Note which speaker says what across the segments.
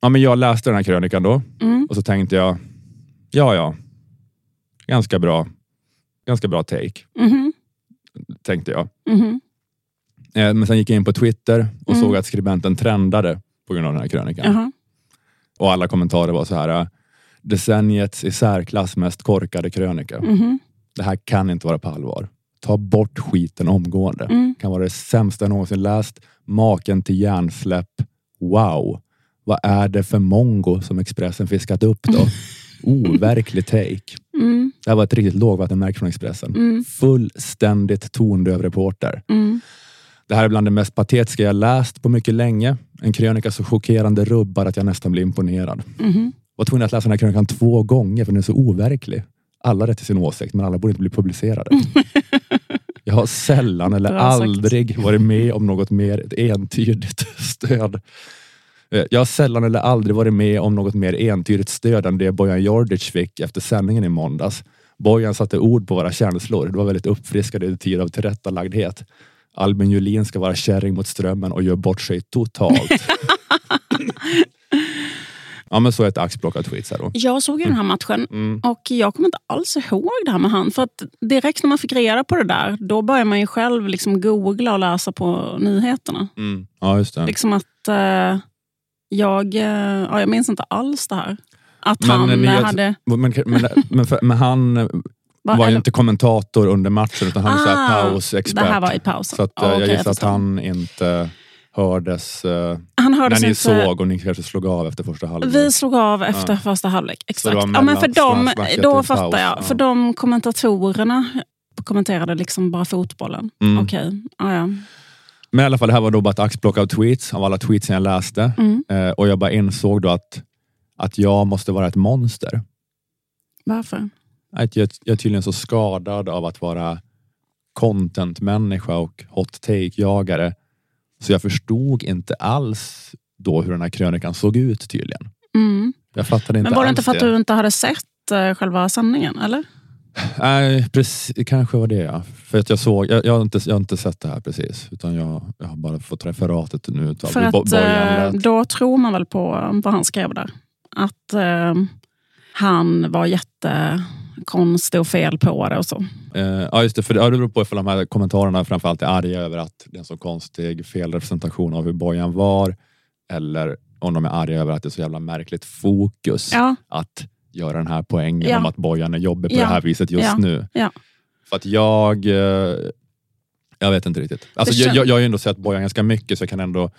Speaker 1: Ja, men jag läste den här krönikan då och så tänkte jag, ja, ja, ganska bra, ganska bra take,
Speaker 2: Mhm.
Speaker 1: tänkte jag.
Speaker 2: Mhm.
Speaker 1: Eh, Men sen gick jag in på Twitter och såg att skribenten trendade på grund av den här krönikan.
Speaker 2: Jaha.
Speaker 1: Och alla kommentarer var så här, decenniets i särklass mest korkade krönika.
Speaker 2: Mhm.
Speaker 1: Det här kan inte vara på allvar. Ta bort skiten omgående. Kan vara det sämsta jag någonsin läst. Maken till hjärnsläpp. Wow. Vad är det för mongo som Expressen fiskat upp då? Overklig take.
Speaker 2: Mm.
Speaker 1: Det här var ett riktigt lågvattenmärke från Expressen. Fullständigt tondöv reporter.
Speaker 2: Mm.
Speaker 1: Det här är bland det mest patetiska jag läst på mycket länge. En krönika så chockerande rubbar att jag nästan blir imponerad.
Speaker 2: Mhm.
Speaker 1: Var tvungen att läsa den här krönikan två gånger för den är så overklig. Alla har rätt till sin åsikt, men alla borde inte bli publicerade. Jag har sällan eller
Speaker 2: Bra sagt.
Speaker 1: aldrig varit med om något mer entydigt stöd. Eh, Jag har sällan eller aldrig varit med om något mer entydigt stöd än det Bojan Jordic fick efter sändningen i måndags. Bojan satte ord på våra känslor. Det var väldigt uppfriskande i tid av tillrättalagdhet. Albin Julin ska vara kärring mot strömmen och gör bort sig totalt. ja, men så är ett axplock av tweets här då.
Speaker 2: Jag såg ju den här matchen
Speaker 1: Mm.
Speaker 2: och jag kommer inte alls ihåg det här med han. För att direkt när man fick reda på det där, då började man ju själv liksom googla och läsa på nyheterna.
Speaker 1: Mm. Ja, just det.
Speaker 2: Liksom att eh, jag, eh, ja, jag minns inte alls det här. Att
Speaker 1: Men,
Speaker 2: han
Speaker 1: eh, ni-
Speaker 2: eh, hade...
Speaker 1: Men, men, men, men, för, men han
Speaker 2: va-
Speaker 1: var ju
Speaker 2: eller-
Speaker 1: inte kommentator under matchen utan han är så här
Speaker 2: Ah,
Speaker 1: pausexpert.
Speaker 2: Det här var i pausen.
Speaker 1: Så att, eh,
Speaker 2: Ja, okej,
Speaker 1: jag gissar att
Speaker 2: förstår.
Speaker 1: han inte hördes eh,
Speaker 2: han hördes
Speaker 1: när ni
Speaker 2: inte.
Speaker 1: såg och ni kanske slog av efter första halvlek.
Speaker 2: Vi slog av efter första halvlek.
Speaker 1: Mm. det
Speaker 2: Exakt.
Speaker 1: var
Speaker 2: Ja, men
Speaker 1: mellan
Speaker 2: för dem,
Speaker 1: snacket
Speaker 2: då
Speaker 1: till
Speaker 2: fattar
Speaker 1: paus,
Speaker 2: jag.
Speaker 1: ja.
Speaker 2: För de kommentatorerna kommenterade liksom bara fotbollen.
Speaker 1: Mm.
Speaker 2: Okej, ja, ja.
Speaker 1: Men i alla fall, det här var då bara ett axplock av tweets, av alla tweets jag läste.
Speaker 2: Mm.
Speaker 1: Eh, och jag bara insåg då att, att jag måste vara ett monster.
Speaker 2: Varför?
Speaker 1: Att jag, jag är tydligen så skadad av att vara content-människa och hot take-jagare. Så jag förstod inte alls då hur den här krönikan såg ut tydligen.
Speaker 2: Mm.
Speaker 1: Jag fattade inte
Speaker 2: Men var det
Speaker 1: alls
Speaker 2: inte för att du inte hade sett eh, själva sändningen? Eller?
Speaker 1: Nej, precis, kanske var det ja. För att jag såg, jag, jag, har inte, jag har inte sett det här precis. Utan jag, jag har bara fått referatet nu utav
Speaker 2: för
Speaker 1: hur Bo-
Speaker 2: att
Speaker 1: Bojan
Speaker 2: eh,
Speaker 1: lät.
Speaker 2: då tror man väl på eh, vad han skrev där. Att eh, han var jättekonstig och fel på det och så.
Speaker 1: Eh, ja, just det. För det, ja, det beror på ifall de här kommentarerna framförallt är arga över att det är en så konstig felrepresentation av hur Bojan var. Eller om de är arga över att det är så jävla märkligt fokus
Speaker 2: Ja,
Speaker 1: att göra den här poängen
Speaker 2: Ja.
Speaker 1: om att Bojan är jobbig på
Speaker 2: Ja.
Speaker 1: det här viset just
Speaker 2: Ja.
Speaker 1: nu.
Speaker 2: Ja.
Speaker 1: För att jag... eh, Jag vet inte riktigt. Alltså,
Speaker 2: Det
Speaker 1: jag,
Speaker 2: kän-
Speaker 1: jag, jag har ju ändå sett Bojan ganska mycket så jag kan ändå...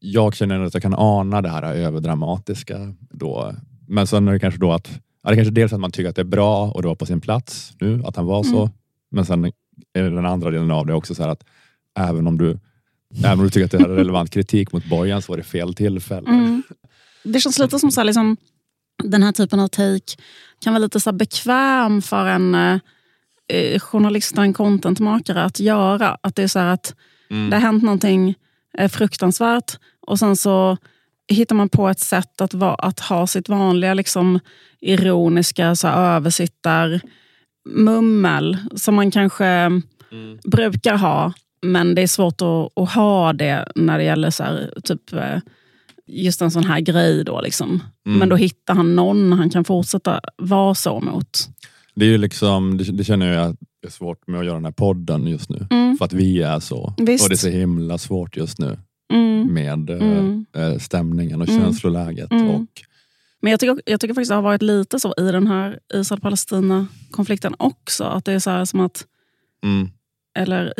Speaker 1: Jag känner ändå att jag kan ana det här överdramatiska då. Men sen är det kanske då att... Ja, det kanske dels att man tycker att det är bra och det var på sin plats nu att han var så.
Speaker 2: Mm.
Speaker 1: Men sen är det den andra delen av det också så här att även om du, även om du tycker att det här är relevant kritik mot Bojan så var det fel tillfälle.
Speaker 2: Mm. Det känns lite som så här, liksom, den här typen av take kan vara lite så här bekväm för en eh, eh, journalist och en contentmakare att göra. Att det är så här att
Speaker 1: Mm.
Speaker 2: det har hänt någonting eh, fruktansvärt och sen så hittar man på ett sätt att, va, att ha sitt vanliga liksom, ironiska så här, översittar mummel som man kanske brukar ha. Men det är svårt att, att ha det när det gäller så här, typ, eh, just en sån här grej. Då, liksom.
Speaker 1: Mm.
Speaker 2: Men då hittar han någon han kan fortsätta vara så mot.
Speaker 1: Det är ju liksom, det, det känner jag att det är svårt med att göra den här podden just nu.
Speaker 2: Mm.
Speaker 1: För att vi är så.
Speaker 2: Visst.
Speaker 1: Och det är så himla svårt just nu
Speaker 2: Mm.
Speaker 1: med eh,
Speaker 2: Mm.
Speaker 1: eh, stämningen och
Speaker 2: Mm.
Speaker 1: känsloläget.
Speaker 2: Mm.
Speaker 1: Och,
Speaker 2: Men jag tycker, jag tycker faktiskt det har varit lite så i den här Israel-Palestina-konflikten också. Att det är så här som att,
Speaker 1: mm,
Speaker 2: eller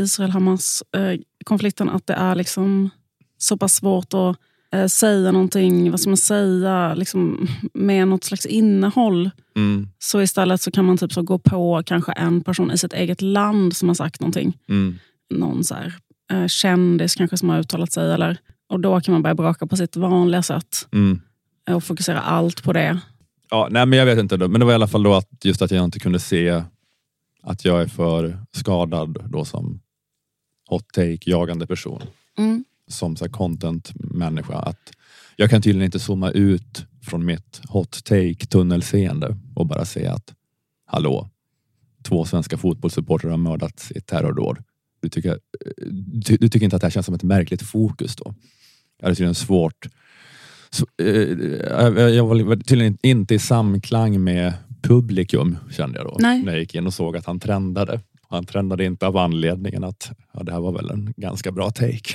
Speaker 2: Israel-Hamas-konflikten, att det är liksom så pass svårt att eh, säga någonting, vad ska man säga, liksom, med något slags innehåll.
Speaker 1: mm,
Speaker 2: Så istället så kan man typ så gå på kanske en person i sitt eget land som har sagt någonting.
Speaker 1: mm,
Speaker 2: Någon så här, eh, kändis kanske som har uttalat sig. Eller, och då kan man börja braka på sitt vanliga sätt
Speaker 1: mm.
Speaker 2: eh, och fokusera allt på det.
Speaker 1: Ja, nej, men jag vet inte. Då. Men det var i alla fall då att just att jag inte kunde se att jag är för skadad då som hot take jagande person.
Speaker 2: Mm.
Speaker 1: Som så här content-människa. Att jag kan tydligen inte zooma ut från mitt hot take tunnelseende och bara säga att hallå, två svenska fotbollssupportrar har mördats i ett terrordåd. Du tycker, eh, du, du tycker inte att det här känns som ett märkligt fokus då? Jag hade tydligen svårt Så, eh, jag, jag var tydligen inte i samklang med publikum kände jag då.
Speaker 2: Nej.
Speaker 1: När jag gick in och såg att han trendade. Han trendade inte av anledningen att ja, det här var väl en ganska bra take.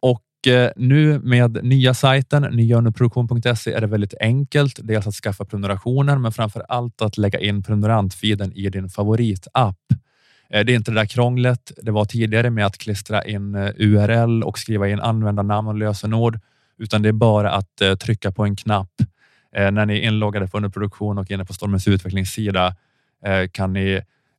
Speaker 1: Och eh, nu med nya sajten nyaunderproduktion.se är det väldigt enkelt. Dels att skaffa prenumerationer, men framför allt att lägga in prenumerantfeeden i din favoritapp. Eh, Det är inte det där krånglet det var tidigare med att klistra in eh, URL och skriva in användarnamn och lösenord, utan det är bara att eh, trycka på en knapp. Eh, När ni är inloggade på underproduktion och inne på Stormens utvecklingssida eh, kan ni